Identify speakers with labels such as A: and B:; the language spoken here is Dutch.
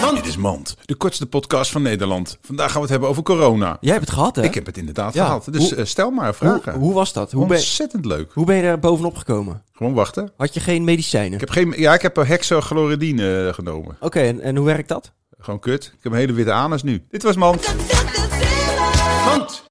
A: dan?
B: Dit is Mand, de kortste podcast van Nederland. Vandaag gaan we het hebben over corona.
A: Jij hebt het gehad, hè?
B: Ik heb het inderdaad
A: Ja,
B: gehad. Dus
A: hoe-
B: eh, stel maar
A: hoe,
B: vragen.
A: hoe was dat? Hoe ben,
B: Ontzettend leuk.
A: hoe ben je daar bovenop gekomen?
B: Gewoon wachten.
A: Had je geen medicijnen?
B: Ik heb geen, ja, ik heb hexachloridine eh, genomen.
A: Oké, en, en hoe werkt dat?
B: Gewoon kut. Ik heb een hele witte anus nu. Dit was Mand.
C: Mand.